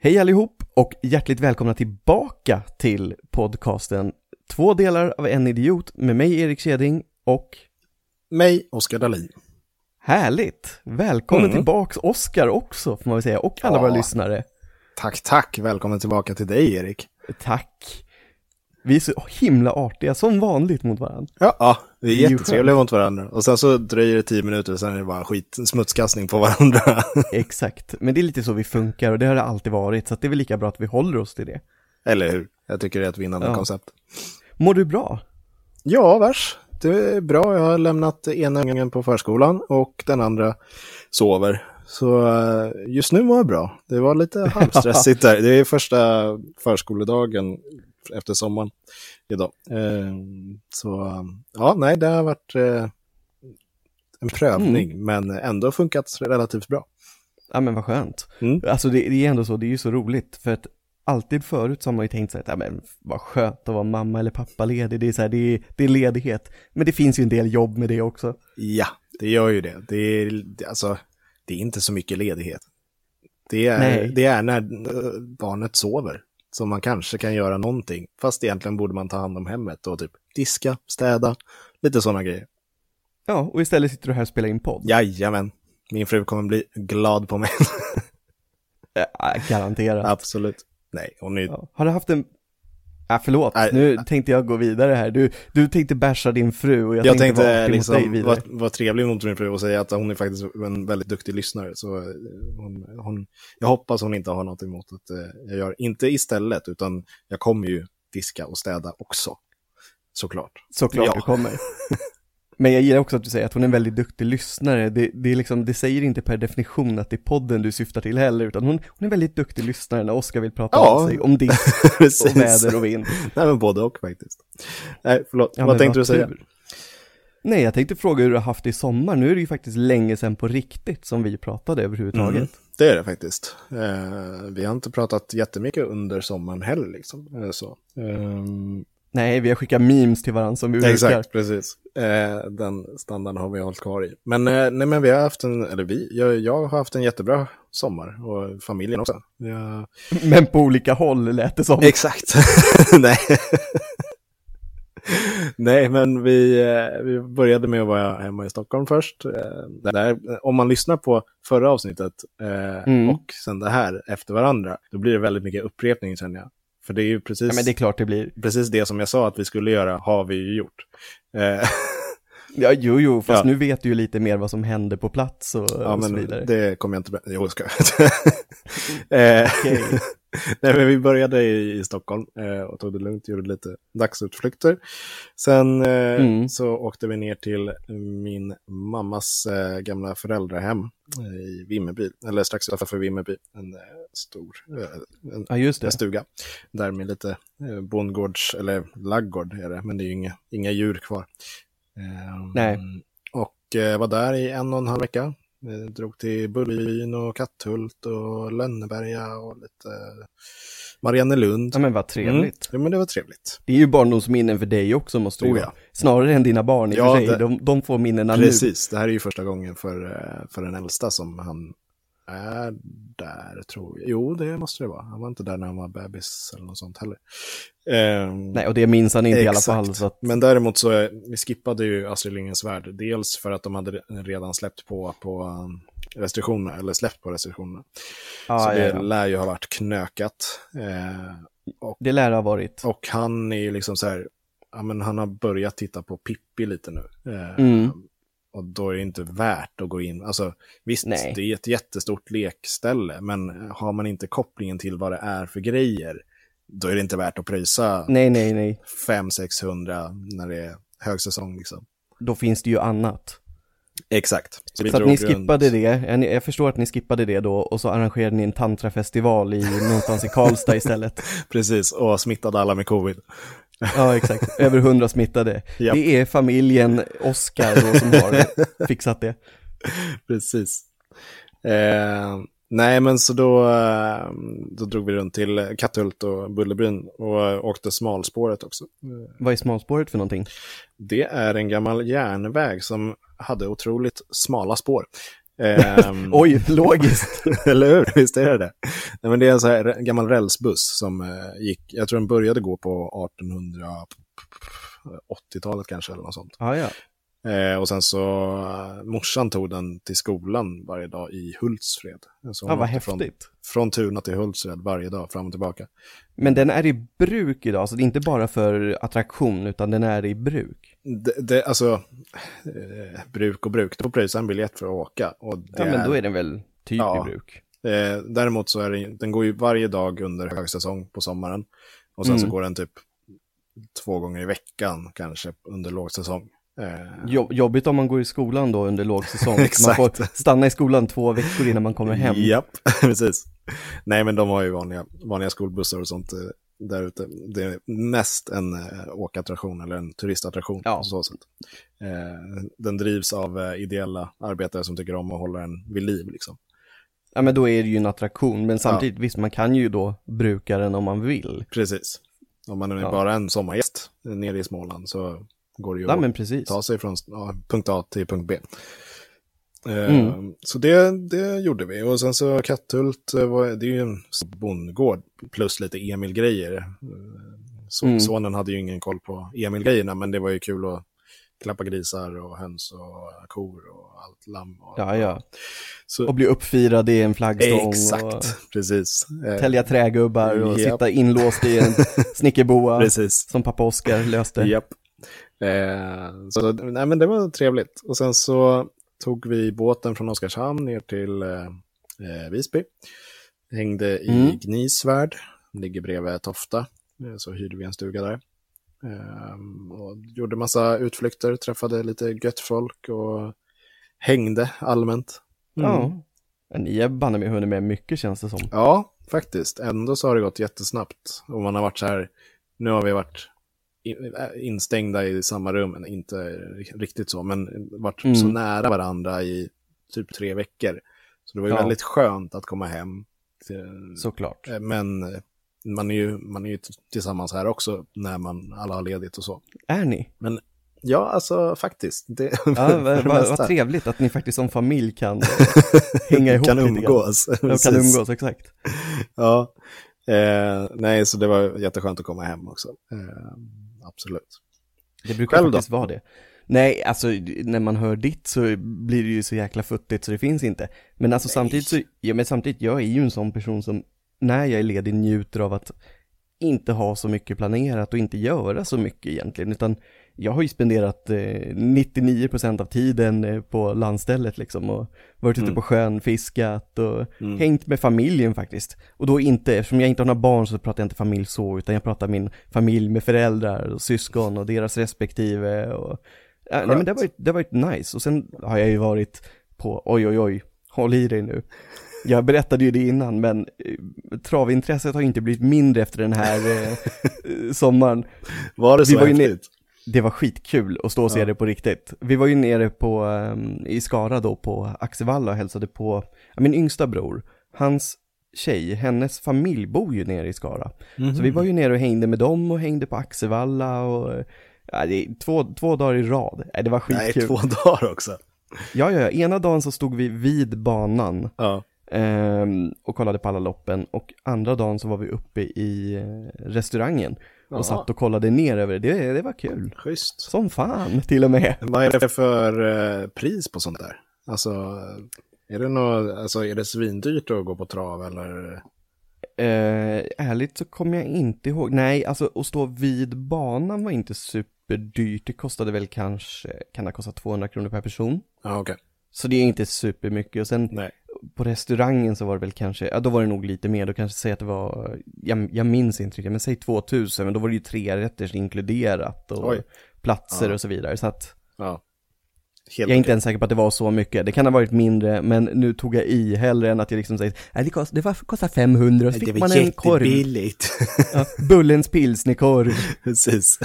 Hej allihop och hjärtligt välkomna tillbaka till podcasten Två delar av en idiot med mig Erik Keding och Mig, Oskar Dahlin. härligt! Välkommen Mm. tillbaks Oscar också får man väl säga och alla Ja. våra lyssnare. Tack, tack. Välkommen tillbaka till dig, Erik. Tack! Vi är så himla artiga som vanligt mot varandra. Ja, ja vi Det är är ju jättetrevliga mot varandra. Och sen så dröjer det tio minuter och sen är det bara skit, smutskastning på varandra. Exakt, men det är lite så vi funkar och det har det alltid varit så att det är väl lika bra att vi håller oss till det. Eller hur? Jag tycker det är ett vinnande Ja. koncept. Mår du bra? Ja, vars. Det är bra. Jag har lämnat ena ungen på förskolan och den andra sover. Så eh, just nu mår jag bra. Det var lite halvstressigt där. Det är första förskoledagen efter sommaren idag. Eh, Så eh, ja, nej, det har varit eh, en prövning, men ändå funkat relativt bra. Ja men vad skönt. Mm. Alltså det, det är ändå så, det är ju så roligt för att alltid förut så har man ju tänkt så här, att, ja men vad skönt att vara mamma eller pappaledig, det är så här, det är, det är ledighet. Men det finns ju en del jobb med det också. Ja, det gör ju det. Det är, det- alltså, det är inte så mycket ledighet. Det är, Nej. det är när eh, barnet sover som man kanske kan göra någonting. Fast egentligen borde man ta hand om hemmet och typ diska, städa, lite sådana grejer. Ja, och istället sitter du här och spelar in podd. Jajamän, min fru kommer bli glad på mig. Ja, garanterat. Absolut. Nej, hon är ju... Ja. Har du haft en, ja förlåt, Nej. nu tänkte jag gå vidare här. Du, du tänkte basha din fru och jag, Jag, tänkte, vara artig mot dig liksom vidare. vara var trevlig mot min fru och säga att hon är faktiskt en väldigt duktig lyssnare. Så eh, hon, hon, jag hoppas hon inte har något emot att eh, jag gör, inte istället, utan jag kommer ju diska och städa också. Såklart. Såklart Ja. du kommer. Men jag gillar också att du säger att hon är en väldigt duktig lyssnare. Det, det, är liksom, det säger inte per definition att det är podden du syftar till heller, utan hon, hon är en väldigt duktig lyssnare när Oskar vill prata Ja. om sig, om disk Precis. och väder och vind. Nej, men både och faktiskt. Nej, förlåt. Ja, men vad tänkte du säga? tur. Nej, jag tänkte fråga hur du har haft det i sommar. Nu är det ju faktiskt länge sedan på riktigt som vi pratade överhuvudtaget. Mm, det är det faktiskt. Eh, vi har inte pratat jättemycket under sommaren heller. Liksom. Eh, så. Ehm, Nej, vi har skickat memes till varandra som vi brukar. Exakt, precis. Eh, den standarden har vi hållit kvar i. Men, eh, nej, men vi har haft en, eller vi, jag, jag har haft en jättebra sommar och familjen också. Ja. Men på olika håll lät det som. Exakt. nej. nej, men vi, eh, vi började med att vara hemma i Stockholm först. Eh, där, om man lyssnar på förra avsnittet eh, Mm. och sen det här efter varandra, då blir det väldigt mycket upprepning känner jag. För det är ju precis Ja, men det är klart det blir. precis det som jag sa att vi skulle göra har vi ju gjort. Eh, Ja, jo, jo, fast Ja. nu vet du ju lite mer vad som hände på plats och, Ja, och så men vidare. det kommer jag inte... Jo, jag skojar. eh, Okej. nej, men vi började i, i Stockholm eh, och tog det lugnt, gjorde lite dagsutflykter. Sen eh, Mm. så åkte vi ner till min mammas eh, gamla föräldrahem eh, i Vimmerby, eller strax utanför Vimmerby, en eh, stor eh, en Ja, just det. en stuga. Där med lite eh, bondgårds, eller laggård är det, men det är ju inga, inga djur kvar. Ehm, Nej. Och eh, var där i en och en halv vecka. Eh, Drog till Bullebyn och Katthult och Lönneberga och lite eh, Mariannelund. Ja men vad Mm. trevligt. Ja, men det var trevligt. Det är ju barndomsminnen för dig också måste du Oh, ju ja. ha. Snarare än dina barn i och Ja, för sig. det- De, de får minnena nu. Precis, det här är ju första gången för, eh, för den äldsta som han är där, tror jag. Jo, det måste det vara. Han var inte där när han var bebis eller något sånt heller. Ehm, Nej, och det minns han inte i alla Exakt. fall. Så att, Men däremot så eh, vi skippade ju Astrid Lindgrens Värld. Dels för att de hade re- redan släppt på, på eh, restriktionerna, eller släppt på restriktionerna. så ja, det ja, ja. lär ju ha varit knökat. Eh, det lär ha varit. och han är ju liksom så här, ja men han har börjat titta på Pippi lite nu. Eh, Mm. Och då är det inte värt att gå in. Alltså visst, Nej. det är ett jättestort lekställe, men eh, har man inte kopplingen till vad det är för grejer, då är det inte värt att pröjsa Nej, nej, nej. 500-600 när det är högsäsong. Liksom. Då finns det ju annat. Exakt. vi Så att drog ni runt. skippade det. Ja, ni- Jag förstår att ni skippade det då och så arrangerade ni en tantrafestival i någonstans i Karlstad istället. Precis, och smittade alla med covid. Ja, exakt. Över hundra smittade. Ja. Det är familjen Oscar då som har fixat det. Precis. Eh, nej, men så då, eh, då drog vi runt till Katthult och Bullerbyn och eh, åkte smalspåret också. Eh, Vad är smalspåret för någonting? Det är en gammal järnväg som hade otroligt smala spår. Eh, Oj, logiskt. Eller hur? Visst är det det? Nej, men det är en så här re- gammal rälsbuss som eh, gick, jag tror den började gå på 1880-talet kanske eller något sånt. Ja, ja. Eh, och sen så eh, morsan tog den till skolan varje dag i Hultsfred. Så hon ja vad åkte från, häftigt. från Tuna till Hultsfred varje dag, fram och tillbaka. Men den är i bruk idag, så det är inte bara för attraktion, utan den är i bruk. Det, det, alltså, eh, bruk och bruk, då pröjsar en biljett för att åka. Och det Ja, men då är den väl typ Ja. i bruk. Eh, däremot så är det, den går ju varje dag under högsäsong på sommaren. Och sen så Mm. går den typ två gånger i veckan kanske under lågsäsong. Eh, Jo- Jobbigt om man går i skolan då under lågsäsong. man Exakt. får stanna i skolan två veckor innan man kommer hem. Japp, precis. Nej, men de har ju vanliga, vanliga skolbussar och sånt eh, där ute. Det är mest en eh, åkattraktion eller en turistattraktion Ja. på så sätt. Eh, den drivs av eh, ideella arbetare som tycker om att hålla den vid liv liksom. Ja, men då är det ju en attraktion, men samtidigt, visst, man kan ju då bruka den om man vill. Precis. Om man är Ja. bara en sommargäst eh, nere i Småland så går det ju Ja, att men precis. ta sig från ja, punkt A till punkt B. Eh, Mm. Så det, det gjorde vi. Och sen så Katthult, eh, var, det är ju en stor bondgård plus lite Emil-grejer. Eh, Så, Mm. Sonen hade ju ingen koll på Emil-grejerna, men det var ju kul att klappa grisar och höns och kor och allt lamm. Och, Ja, ja. Så, Och bli uppfirad i en flaggstång. Och... exakt, precis. Eh, Tälja trägubbar och Japp. sitta inlåst i en snickerboa precis. som pappa Oskar löste. Japp. Eh, så nej, men det var trevligt. Och sen så tog vi båten från Oskarshamn ner till eh, eh, Visby. Hängde i Mm. Gnisvärd, ligger bredvid Tofta. Eh, Så hyrde vi en stuga där. Eh, och gjorde massa utflykter, träffade lite gött folk och hängde allmänt. Mm. Ja. Men ni har banne mig hunnit med mycket känns det som. Ja, faktiskt. Ändå så har det gått jättesnabbt. Och man har varit så här, nu har vi varit i- äh, instängda i samma rum, men inte riktigt så, men varit Mm. så nära varandra i typ tre veckor. Så det var ju Ja. väldigt skönt att komma hem. till- Såklart. eh, Men man är ju, man är ju t- tillsammans här också när man alla har ledigt och så. Är ni? Ja, alltså faktiskt. Det, Ja, för det vad, vad, mesta. vad trevligt att ni faktiskt som familj kan eh, hänga ihop kan lite grann. umgås. Ja, kan Precis. umgås, exakt. Ja, eh, nej, så det var jätteskönt att komma hem också. Eh, absolut. Det brukar Själv då? faktiskt vara det. Nej, alltså när man hör ditt så blir det ju så jäkla futtigt så det finns inte. Men alltså samtidigt så, ja, men samtidigt, jag är ju en sån person som när jag är ledig njuter av att inte ha så mycket planerat och inte göra så mycket egentligen, utan jag har ju spenderat eh, 99% av tiden eh, på landstället liksom och varit ute Mm. på sjön, fiskat och Mm. hängt med familjen faktiskt. Och då inte, eftersom jag inte har några barn så pratar jag inte familj så, utan jag pratar min familj med föräldrar och syskon och deras respektive och... Ja, nej men det har, varit, det har varit nice. Och sen har jag ju varit på, oj oj oj, håll i dig nu. Jag berättade ju det innan, men eh, travintresset har ju inte blivit mindre efter den här eh, eh, sommaren. Var det Vi så var ju häftigt? Det var skitkul att stå och se Ja. det på riktigt. Vi var ju nere på, ehm, i Skara då på Axevalla och hälsade på ja, min yngsta bror. Hans tjej, hennes familj bor ju nere i Skara. Så Mhm. vi var ju nere och hängde med dem och hängde på Axevalla och eh, ja, det är två, två dagar i rad. Ja, det var Nej, skitkul. två dagar också. Ja, ja, ja, ena dagen så stod vi vid banan Ja, ehm, och kollade på alla loppen och andra dagen så var vi uppe i eh, restaurangen och Jaha. satt och kollade ner över det. det. Det var kul. schysst. Som fan till och med. Vad är det för eh, pris på sånt där? Alltså, är det, nå, alltså, är det svindyrt att gå på trav eller? Eh, ärligt så kommer jag inte ihåg. Nej, alltså att stå vid banan var inte superdyrt. Det kostade väl kanske, kan det kosta 200 kronor per person? Ja, okej. Så det är inte supermycket. Och sen Nej. på restaurangen så var det väl kanske, ja då var det nog lite mer. Då kanske säg att det var, jag, jag minns inte riktigt, men säg 2000. Men då var det ju tre rätter inkluderat och Oj. platser Ja. och så vidare. Så att Ja. jag Helt är inte ens säker på att det var så mycket. Det kan ha varit mindre, men nu tog jag i hellre än att jag liksom säger, nej det kostade, det var, kostade 500 och så fick man en korv. Ja, Bullens pilsnerkorv. precis.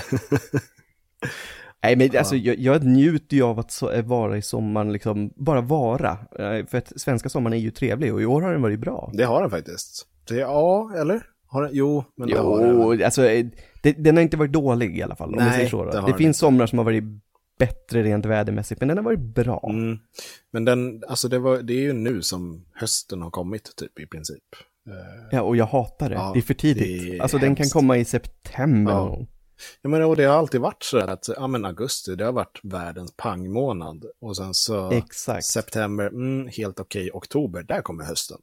Nej men alltså jag, jag njuter ju av att så, vara i sommaren liksom, bara vara. Eh, För att svenska sommaren är ju trevlig och i år har den varit bra. Det har den faktiskt. Det, ja, eller? Har den, jo, men det har den. Jo, alltså eh, det, den har inte varit dålig i alla fall om man Nej, säger så. Då. det har Det, den finns somrar som har varit bättre rent vädermässigt men den har varit bra. Mm. Men den, alltså det, var, det är ju nu som hösten har kommit typ i princip. Eh, Ja, och jag hatar det. Ja, det är för tidigt. det är alltså den kan hemskt. komma i september Ja. någon gång. Jag menar, och det har alltid varit så där att ja, men augusti, det har varit världens pangmånad. Och sen så Exakt. september, mm, helt okej, oktober, där kommer hösten.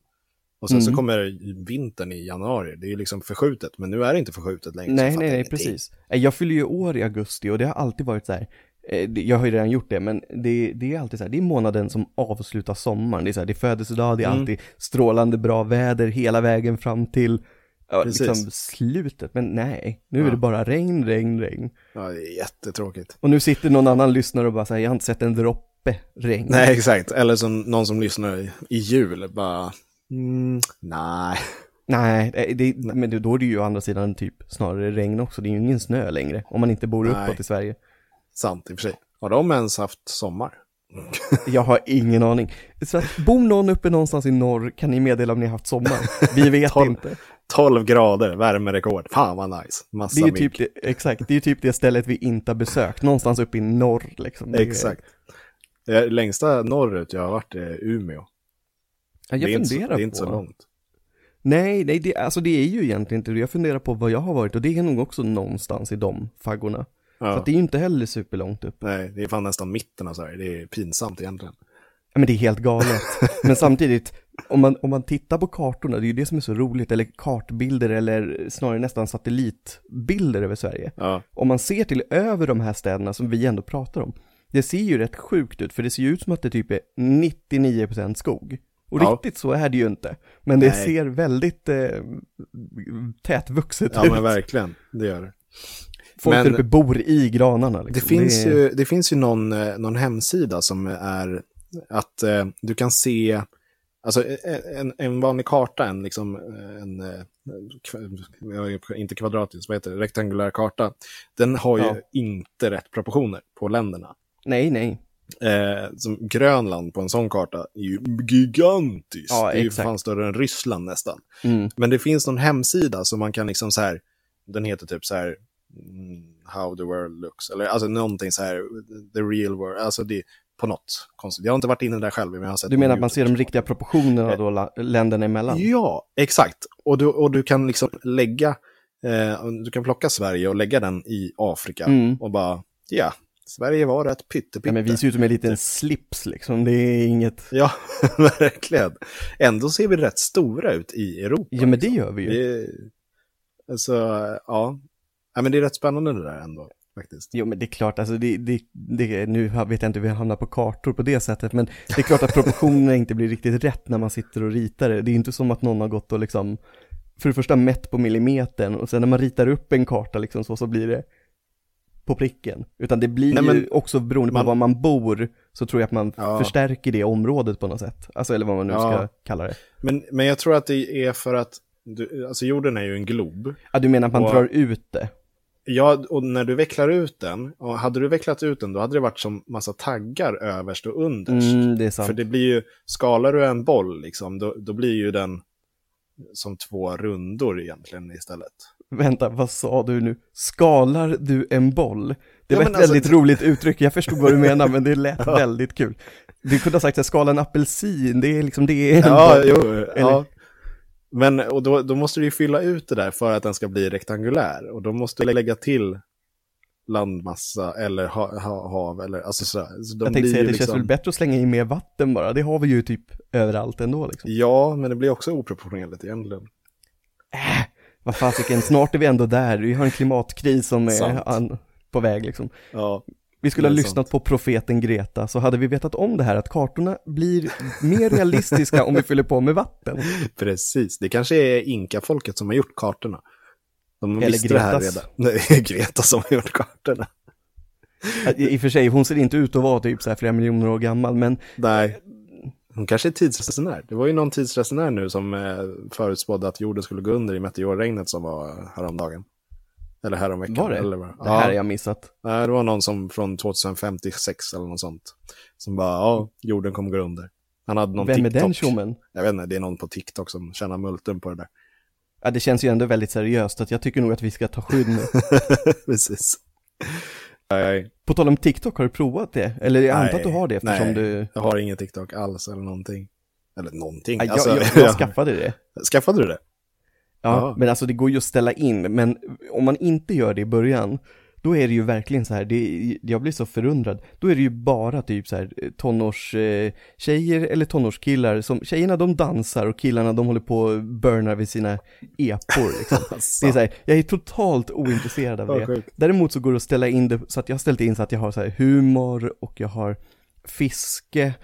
Och sen så Mm. kommer vintern i januari, det är ju liksom förskjutet, men nu är det inte förskjutet längre. så jag nej, fattar nej, nej, ingenting. precis. Nej, Jag fyller ju år i augusti och det har alltid varit så här. eh, det- Jag har ju redan gjort det, men det, det är alltid så här, det är månaden som avslutar sommaren. Det är så här, det är födelsedag, Mm. det är alltid strålande bra väder hela vägen fram till ja, Precis. liksom slutet. Men nej, nu är Ja. det bara regn, regn, regn. Ja, det är jättetråkigt. Och nu sitter någon annan lyssnare och bara säger, jag har inte sett en droppe regn. Nej, exakt. Eller som någon som lyssnar i, i jul, bara, mm, nej. Nej, det, det, men då är det ju å andra sidan typ snarare regn också. Det är ju ingen snö längre, om man inte bor Nej. uppåt i Sverige. Sant i och för sig. Har de ens haft sommar? Jag har ingen aning. Så att, bor någon uppe någonstans i norr kan ni meddela om ni har haft sommar. Vi vet Tolv. inte. 12 grader, värmerekord. Fan vad nice. Massa Det är ju mygg. typ det, exakt, det är ju typ det stället vi inte har besökt. Någonstans uppe i norr liksom. Det är- Exakt. Det längsta norrut jag har varit är Umeå. Ja, det är jag inte, så- funderar det är inte så på. långt. Nej, nej, det, alltså det är ju egentligen inte det. Jag funderar på vad jag har varit och det är nog också någonstans i de faggorna. Ja. Så att det är ju inte heller superlångt upp. Nej, det är fan nästan mitten av Sverige. Det är pinsamt egentligen. Ja, men det är helt galet. Men samtidigt, om man, om man tittar på kartorna, det är ju det som är så roligt, eller kartbilder eller snarare nästan satellitbilder över Sverige. Ja, Om man ser till över de här städerna som vi ändå pratar om, det ser ju rätt sjukt ut, för det ser ju ut som att det typ är 99% skog. Och Ja. riktigt så är det ju inte. Men det Nej. ser väldigt eh, tätvuxet ja ut. men verkligen. Det gör det. Folk men- där uppe bor i granarna liksom. Det finns är- ju, det finns ju någon, eh, någon hemsida som är att eh, du kan se Alltså eh, en, en vanlig karta, en, liksom, eh, en eh, kva- inte kvadratisk, vad heter det, rektangulär karta, den har ju Ja. inte rätt proportioner på länderna. Nej, nej. eh, som Grönland på en sån karta är ju gigantiskt. Ja, det är ju för exakt. fan större än Ryssland nästan. Mm. Men det finns någon hemsida som man kan liksom så här, den heter typ så här mm, How the world looks, eller alltså någonting så här, the real world, alltså det är på något konstigt. Jag har inte varit inne där själv, men jag har sett Du på menar att man ser de YouTube. riktiga proportionerna då la- länderna emellan? Ja, exakt. Och du, och du kan liksom lägga, eh, du kan plocka Sverige och lägga den i Afrika Mm. och bara, ja, Sverige var rätt pyttepytte. Ja, men vi ser ut som en Typ. liten slips liksom, det är inget... Ja, verkligen. Ändå ser vi rätt stora ut i Europa. Ja men det gör vi ju. Det är- Alltså, ja. ja. men det är rätt spännande det där ändå, faktiskt. Jo men det är klart, alltså det, det, det, nu vet jag inte hur vi hamnar på kartor på det sättet, men det är klart att proportionerna inte blir riktigt rätt när man sitter och ritar det. Det är inte som att någon har gått och liksom, för det första mätt på millimetern och sen när man ritar upp en karta liksom så, så blir det på pricken. Utan det blir Nej, men ju också beroende på man- var man bor, så tror jag att man Ja. förstärker det området på något sätt. Alltså eller vad man nu ska Ja. kalla det. Men, men jag tror att det är för att, du, alltså jorden är ju en glob. Ja, du menar att man Och- drar ut det? Ja, och när du vecklar ut den, och hade du vecklat ut den då hade det varit som massa taggar överst och underst. Mm, det är sant. För det blir ju, skalar du en boll liksom, då, då blir ju den som två rundor egentligen istället. Vänta, vad sa du nu? Skalar du en boll? Det Ja, var men ett alltså- väldigt roligt uttryck, jag förstod vad du menar men det lät väldigt kul. Du kunde ha sagt att skala en apelsin, det är liksom det är en Ja, boll. jo, ja. Men och då, då måste du ju fylla ut det där för att den ska bli rektangulär. Och då måste du lägga till landmassa eller ha, ha, hav eller alltså sådär. Så de Jag tänkte blir säga, ju det känns liksom- väl bättre att slänga in mer vatten bara, det har vi ju typ överallt ändå liksom. Ja, men det blir också oproportionerligt egentligen. Vad fasiken, snart är vi ändå där, vi har en klimatkris som Sant. är an, på väg liksom. Ja, Vi skulle ha Det är lyssnat på profeten Greta, så hade vi vetat om det här att kartorna blir mer realistiska om vi fyller på med vatten. precis. Det kanske är inkafolket som har gjort kartorna. De Eller visste det här Gretas. redan. Nej, Greta som har gjort kartorna. I och för sig, hon ser inte ut att vara typ så här flera miljoner år gammal, men Nej. Hon kanske är tidsresenär. Det var ju någon tidsresenär nu som eh, förutspådde att jorden skulle gå under i meteorregnet som var häromdagen. Eller häromveckan. Var det? Eller vad? Det här har ja. jag missat. Nej, det var någon som från 2056 eller något sånt. Som bara, ja, jorden kommer gå under. Han hade någon Vem TikTok. är den tjommen? Jag vet inte, det är någon på TikTok som tjänar multum på det där. Ja, det känns ju ändå väldigt seriöst, att jag tycker nog att vi ska ta skydd nu. Precis. Nej, På tal om TikTok, har du provat det? Eller jag antar att du Nej, har det eftersom nej. du... jag har ingen TikTok alls eller någonting. Eller någonting. Ja, Jag, Alltså, jag, jag skaffade det. Skaffade du det? Ja, Ja. men alltså det går ju att ställa in, men om man inte gör det i början, då är det ju verkligen så här, det, jag blir så förundrad, då är det ju bara typ så här eh, tonårstjejer eh, tjejer eller tonårskillar som, tjejerna de dansar och killarna de håller på och burnar vid sina epor liksom. Det är så här, jag är totalt ointresserad av Vad det. sjukt. Däremot så går det att ställa in det, så att jag har ställt in så att jag har så här humor och jag har fiske.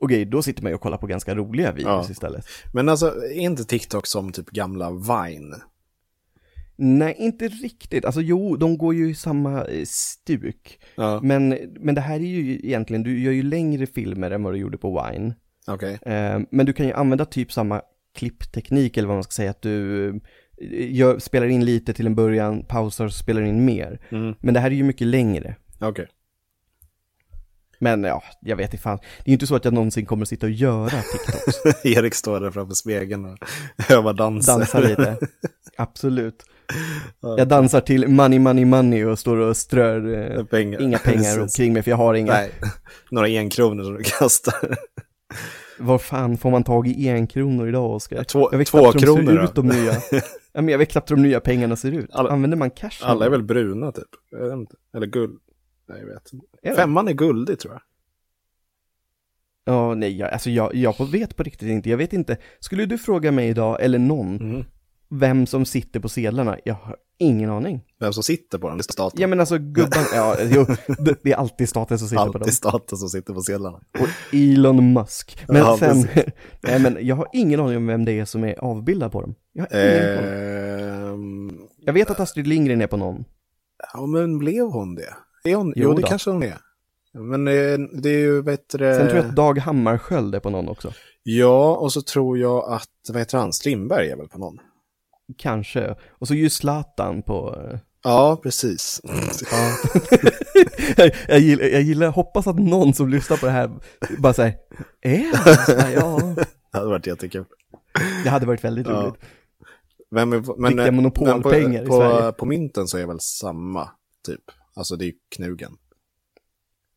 Okej, då sitter man ju och kollar på ganska roliga videos Ja. istället. Men alltså, är inte TikTok som typ gamla Vine? Nej, inte riktigt. Alltså jo, de går ju i samma eh, stuk. Ja. Men, men det här är ju egentligen, du gör ju längre filmer än vad du gjorde på Vine. Okej. Eh, men du kan ju använda typ samma klippteknik eller vad man ska säga, att du eh, gör, spelar in lite till en början, pausar och spelar in mer. Mm. Men det här är ju mycket längre. Okej. Men ja, jag vet inte fan. Det är ju inte så att jag någonsin kommer att sitta och göra TikToks, Erik står där framför spegeln och övar danser. dansa lite. Absolut. Jag dansar till Money Money Money och står och strör eh, Pengar. inga pengar Precis. omkring mig för jag har inga. Nej, några enkronor som du kastar. Var fan får man tag i en kronor idag Oskar? Två- jag vet två knappt hur de ser kronor, ut då? de nya. ja, men jag vet knappt hur de nya pengarna ser ut. Alla- Använder man cash? nu? Alla är väl bruna typ? Jag vet inte. Eller guld. Nej, jag vet inte. Är det? Femman är guldig tror jag. Ja, nej, jag, alltså jag, jag på- vet på riktigt inte. Jag vet inte. Skulle du fråga mig idag, eller någon, vem som sitter på sedlarna? Jag har ingen aning. Vem som sitter på den, det är staten. Ja men alltså gubban, ja jo, det- det är alltid staten som sitter på dem. Alltid staten som sitter på sedlarna. Och Elon Musk. Men Ja, sen, precis. nej men jag har ingen aning om vem det är som är avbildad på dem. Jag har ingen Eh, koll. Ehm, Jag vet att Astrid Lindgren är på någon. ja, men blev hon det? Är hon? Jo, Jo det då. kanske hon är. Men eh, det är ju bättre... Sen tror jag att Dag Hammarskjöld är på någon också. Ja, och så tror jag att, vad heter han, Strindberg är väl på någon? Kanske. Och så är ju Zlatan på... eh, Ja, precis. jag, jag, gillar, jag gillar, hoppas att någon som lyssnar på det här bara säger Är han? Ja, ja, det hade varit jättekul. det hade varit väldigt Ja. roligt. Vem är, men, Vilka eh, monopolpengar men i på, på, Sverige. på mynten så är väl samma typ. Alltså det är ju knugen.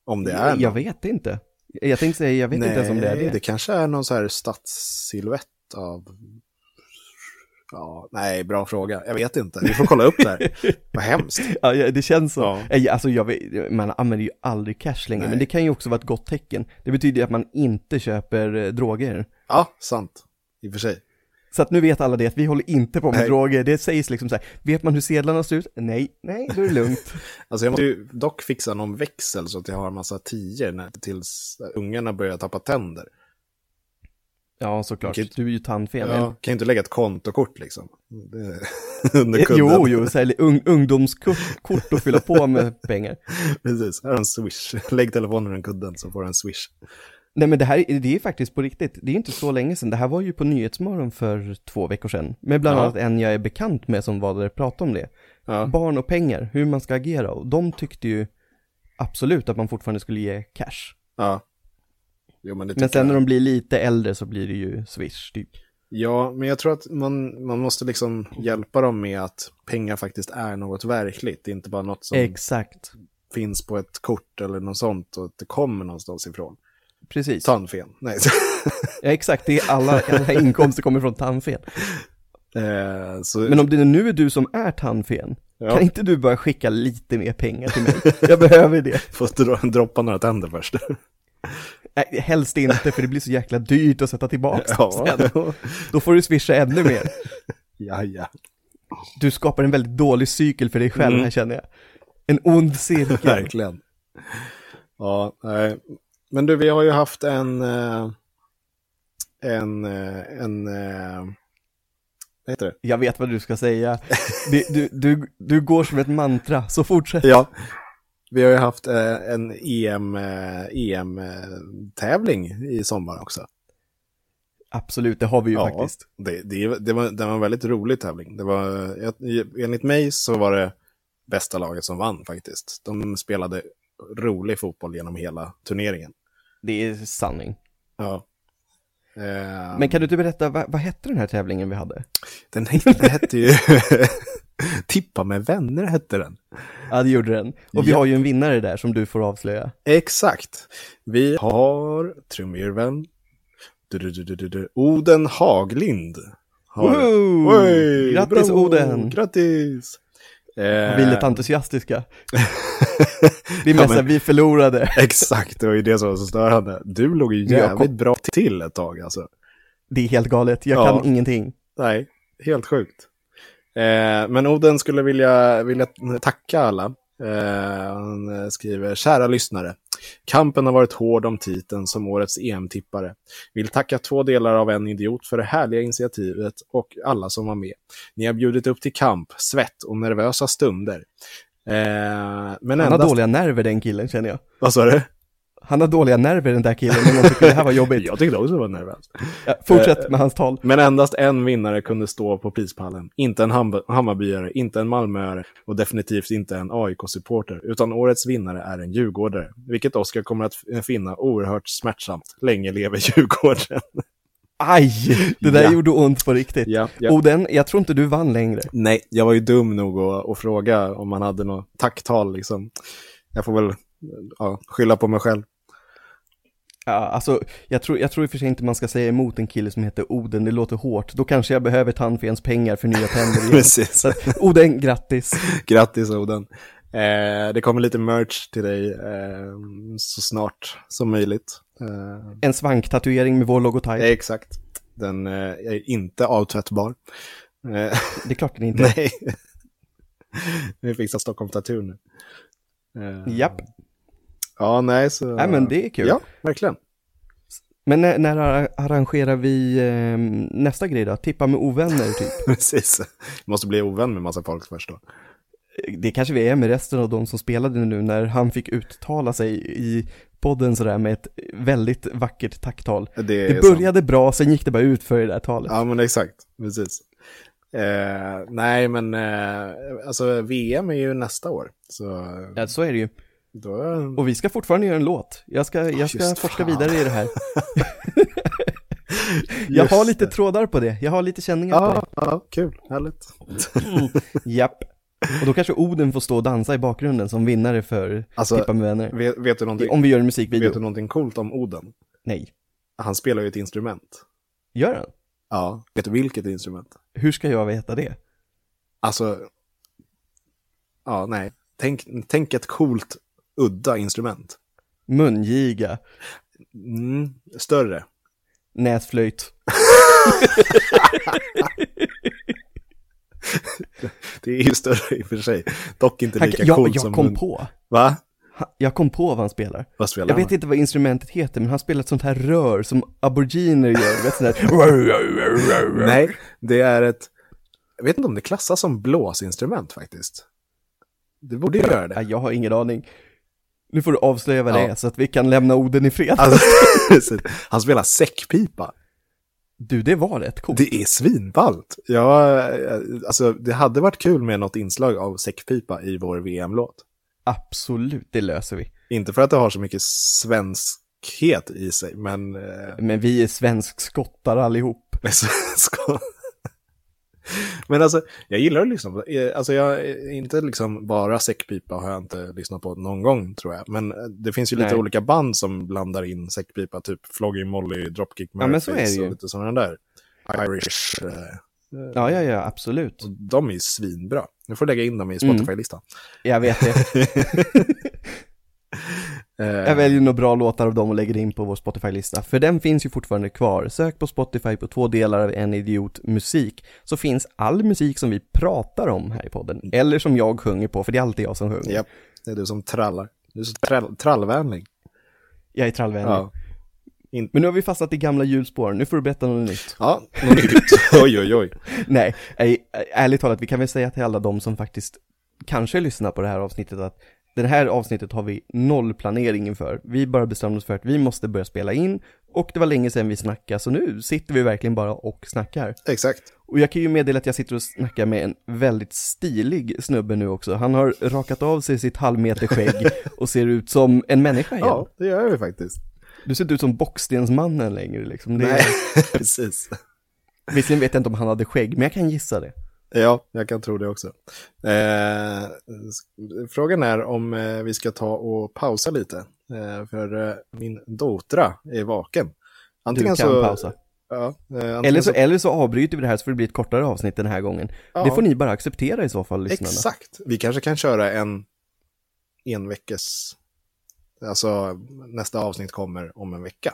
Om det är Jag vet inte. Jag tänkte säga, jag vet inte ens om det är det. det kanske är någon så här stadssilhuett av... Ja, nej, bra fråga. Jag vet inte. Vi får kolla upp det här. Vad hemskt. Ja, ja, det känns så. Ja. Nej, Alltså, jag vet, man använder ju aldrig cash längre, Nej. men det kan ju också vara ett gott tecken. Det betyder ju att man inte köper eh, droger. Ja, sant. I och för sig. Så att nu vet alla det, att vi håller inte på med Nej. droger. Det sägs liksom så här, vet man hur sedlarna ser ut? Nej, nej, då är det lugnt. Alltså jag måste ju dock fixa någon växel så att jag har en massa tior när- tills ungarna börjar tappa tänder. ja, såklart. Vilket- Du är ju tandfen. eller? Ja, kan ju inte lägga ett kontokort liksom. Det- Under kudden. Eh, Jo, jo, så här, ung, ungdomskort kort att fylla på med pengar. Precis, här har du en swish. Lägg telefonen under kudden så får du en swish. Nej men det här, det är faktiskt på riktigt, det är inte så länge sedan, det här var ju på Nyhetsmorgon för två veckor sedan, med bland Ja. annat en jag är bekant med som var där och pratade om det. Ja. Barn och pengar, hur man ska agera, och de tyckte ju absolut att man fortfarande skulle ge cash. Ja. Jo, men det Men tycker jag. sen när de blir lite äldre så blir det ju swish, typ. Ja, men jag tror att man, man måste liksom hjälpa dem med att pengar faktiskt är något verkligt. Det är inte bara något som Exakt, finns på ett kort eller något sånt och att det kommer någonstans ifrån. precis. Tandfen. Nej. Ja, exakt, det är alla, alla inkomster kommer från tandfen. eh, så, Men om det nu är du som är tandfen, Ja. kan inte du börja skicka lite mer pengar till mig? Jag behöver det. Får dro- droppa några tänder först. Nej, helst inte, för det blir så jäkla dyrt att sätta tillbaka ja. sen. Då får du swisha ännu mer. ja, ja. Du skapar en väldigt dålig cykel för dig själv Mm. här känner jag. En ond cirkel. Verkligen. Ja, nej. Men du, vi har ju haft en... eh, En... eh, En... eh, Vad heter det? Jag vet vad du ska säga. Du, du, du, du går som ett mantra, så fortsätt. Ja. Vi har ju haft eh, en EM-tävling E i sommar också. Absolut, det har vi ju Ja, faktiskt. Det, det, det, var, det var en väldigt rolig tävling. Det var, jag- enligt mig så var det bästa laget som vann faktiskt. De spelade rolig fotboll genom hela turneringen. Det är sanning. Ja. Eh, Men kan du inte berätta, vad, vad hette den här tävlingen vi hade? Den hette, den hette ju... Tippa med vänner hette den. Ja, det gjorde den. Och vi Ja. har ju en vinnare där som du får avslöja. Exakt. Vi har trumvirveln. Du-du-du-du-du-du. Oden Haglind. Har... Wow! Oj, Grattis bravo, Oden! Grattis! Eh, Vi är lite entusiastiska. Vi är Ja, mest men- såhär, vi förlorade. Eh, Exakt, det var ju det som var så störande. Du låg ju Men jag jävligt bra till ett tag alltså. Det är helt galet, jag Ja. kan ingenting. Nej, helt sjukt. Eh, men Oden skulle vilja, vilja tacka alla. Eh, han eh, skriver, kära lyssnare. Kampen har varit hård om titeln som årets EM-tippare. Vill tacka två delar av en idiot för det härliga initiativet och alla som var med. Ni har bjudit upp till kamp, svett och nervösa stunder. Eh, Han men har endast... dåliga nerver den killen känner jag. Vad sa du? Han har dåliga nerver den där killen, men han tycker det här var jobbigt. Jag tyckte också det var nervöst. Ja, Eh, fortsätt med hans tal. Men endast en vinnare kunde stå på prispallen. Inte en Ham- Hammarbyare, inte en Malmöare och definitivt inte en AIK-supporter. Utan årets vinnare är en Djurgårdare. Vilket Oskar kommer att f- finna oerhört smärtsamt. Länge lever Djurgården. Aj! Det där Ja. gjorde ont på riktigt. ja, Oden, jag tror inte du vann längre. Nej, jag var ju dum nog att, att fråga om man hade något tacktal liksom. Jag får väl ja, skylla på mig själv. Ja, alltså, jag tror, jag tror i och för sig inte man ska säga emot en kille som heter Oden, det låter hårt. Då kanske jag behöver tandfens pengar för nya tänder igen. Precis. Så att, Oden, grattis! Grattis Oden. Eh, det kommer lite merch till dig eh, så snart som möjligt. Eh, En svanktatuering med vår logotyp. Ja, Eh, exakt. Den eh, är inte avtvättbar. Eh, Det är klart den inte är. nej. Vi fixar Stockholm Tattoo nu. Eh, Japp, Ja, nej så... nej men det är kul. Ja, verkligen. Men när, när ar- arrangerar vi eh, nästa grej då? Tippa med ovänner typ? Precis. Måste bli ovän med massa folk först då. Det kanske vi är med resten av de som spelade nu när han fick uttala sig i podden sådär med ett väldigt vackert tacktal. Det, Det är sant. började bra, sen gick det bara ut för det där talet. Ja, men exakt. Precis. Eh, nej, men eh, alltså VM är ju nästa år. Så Ja, så är det ju. då... Och vi ska fortfarande göra en låt. Jag ska, jag ska just forska fan. vidare i det här. Jag har Just lite det. trådar på det. Jag har lite känningar på det. Ja, ja, kul. Härligt. Japp. Och då kanske Oden får stå och dansa i bakgrunden som vinnare för Alltså, Tippa med vänner. Vet, vet, du någonting, Om vi gör en vet musikvideo. du någonting coolt om Oden? Nej. Han spelar ju ett instrument. Gör han? Ja. Vet du vilket instrument? Hur ska jag veta det? Alltså, ja, nej. Tänk, tänk ett coolt, udda instrument. Mungiga, Mm, större. näsflöjt. Det är ju större i och för sig. Dock inte Han, lika jag, coolt jag som... kom en- på. Va? Han- Jag kom på vad han spelar. Vad spelar Jag han? vet inte vad instrumentet heter, men han spelar ett sånt här rör som aboriginer gör. Du Vet, sånt här... Nej, det är ett... Jag vet inte om det klassas som blåsinstrument faktiskt. Det borde ju göra Ja, det. jag har ingen aning. Nu får du avslöja vad det Ja. är så att vi kan lämna Oden i fred. Alltså, precis. han spelar säckpipa. Du, det var rätt coolt. Det är svinballt. Ja, eh, alltså, det hade varit kul med något inslag av säckpipa i vår VM-låt. Absolut, det löser vi. Inte för att det har så mycket svenskhet i sig, men... Eh, Men vi är svensk-skottar allihop. men svensk... men alltså, jag gillar att lyssna på... eh, Alltså, jag är inte liksom bara säckpipa har jag inte lyssnat på någon gång, tror jag. Men eh, det finns ju lite Nej. olika band som blandar in säckpipa, typ Flogging Molly, Dropkick Ja, Murphys men så är det ju. och lite sådana där. Irish... Eh, Ja, ja, ja, absolut. och de är ju svinbra. Nu får jag lägga in dem i Mm. Spotify-listan. Jag vet det. Eh, Jag väljer några bra låtar av dem och lägger in på vår Spotify-lista, för den finns ju fortfarande kvar. Sök på Spotify på två delar av en idiot musik, så finns all musik som vi pratar om här i podden, eller som jag sjunger på, för det är alltid jag som sjunger. Japp, det är du som trallar. Du är så trall, trallvänlig. Jag är trallvänlig. Ja. Men nu har vi fastnat i gamla hjulspår, nu får du berätta något nytt. Ja, något nytt. Oj, oj, oj. Nej, nej, ärligt talat, vi kan väl säga till alla de som faktiskt kanske lyssnar på det här avsnittet att det här avsnittet har vi noll planering inför. Vi bara bestämde oss för att vi måste börja spela in och det var länge sedan vi snackade, så nu sitter vi verkligen bara och snackar. Exakt. Och jag kan ju meddela att jag sitter och snackar med en väldigt stilig snubbe nu också. Han har rakat av sig sitt halvmeterskägg och ser ut som en människa igen. Ja, det gör vi faktiskt. Du ser inte ut som Bockstensmannen längre liksom. Det Nej, är, precis. visserligen vet jag inte om han hade skägg, men jag kan gissa det. Ja, jag kan tro det också. Eh, s- frågan är om eh, vi ska ta och pausa lite. Eh, för eh, min dotra är vaken. Du kan Antingen så... pausa. Ja, eh, antingen Eller så, eller så avbryter vi det här så får det bli ett kortare avsnitt den här gången. Ja. Det får ni bara acceptera i så fall, lyssnarna. Exakt. Vi kanske kan köra en enveckes... Alltså nästa avsnitt kommer om en vecka.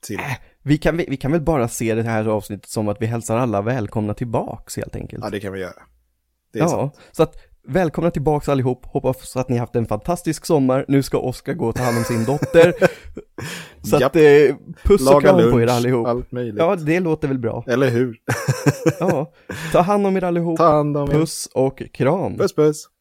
Till. Äh, vi, kan, vi, vi kan väl bara se det här avsnittet som att vi hälsar alla välkomna tillbaks helt enkelt. Ja, det kan vi göra. Det är sant. Ja, så att välkomna tillbaks allihop. Hoppas att ni haft en fantastisk sommar. Nu ska Oskar gå och ta hand om sin dotter. så att Japp. eh, puss och kram på er allihop. allt möjligt. Ja, det låter väl bra. Eller hur? Ja, ta hand om er allihop. Ta hand om er. Puss och kram. Puss, puss.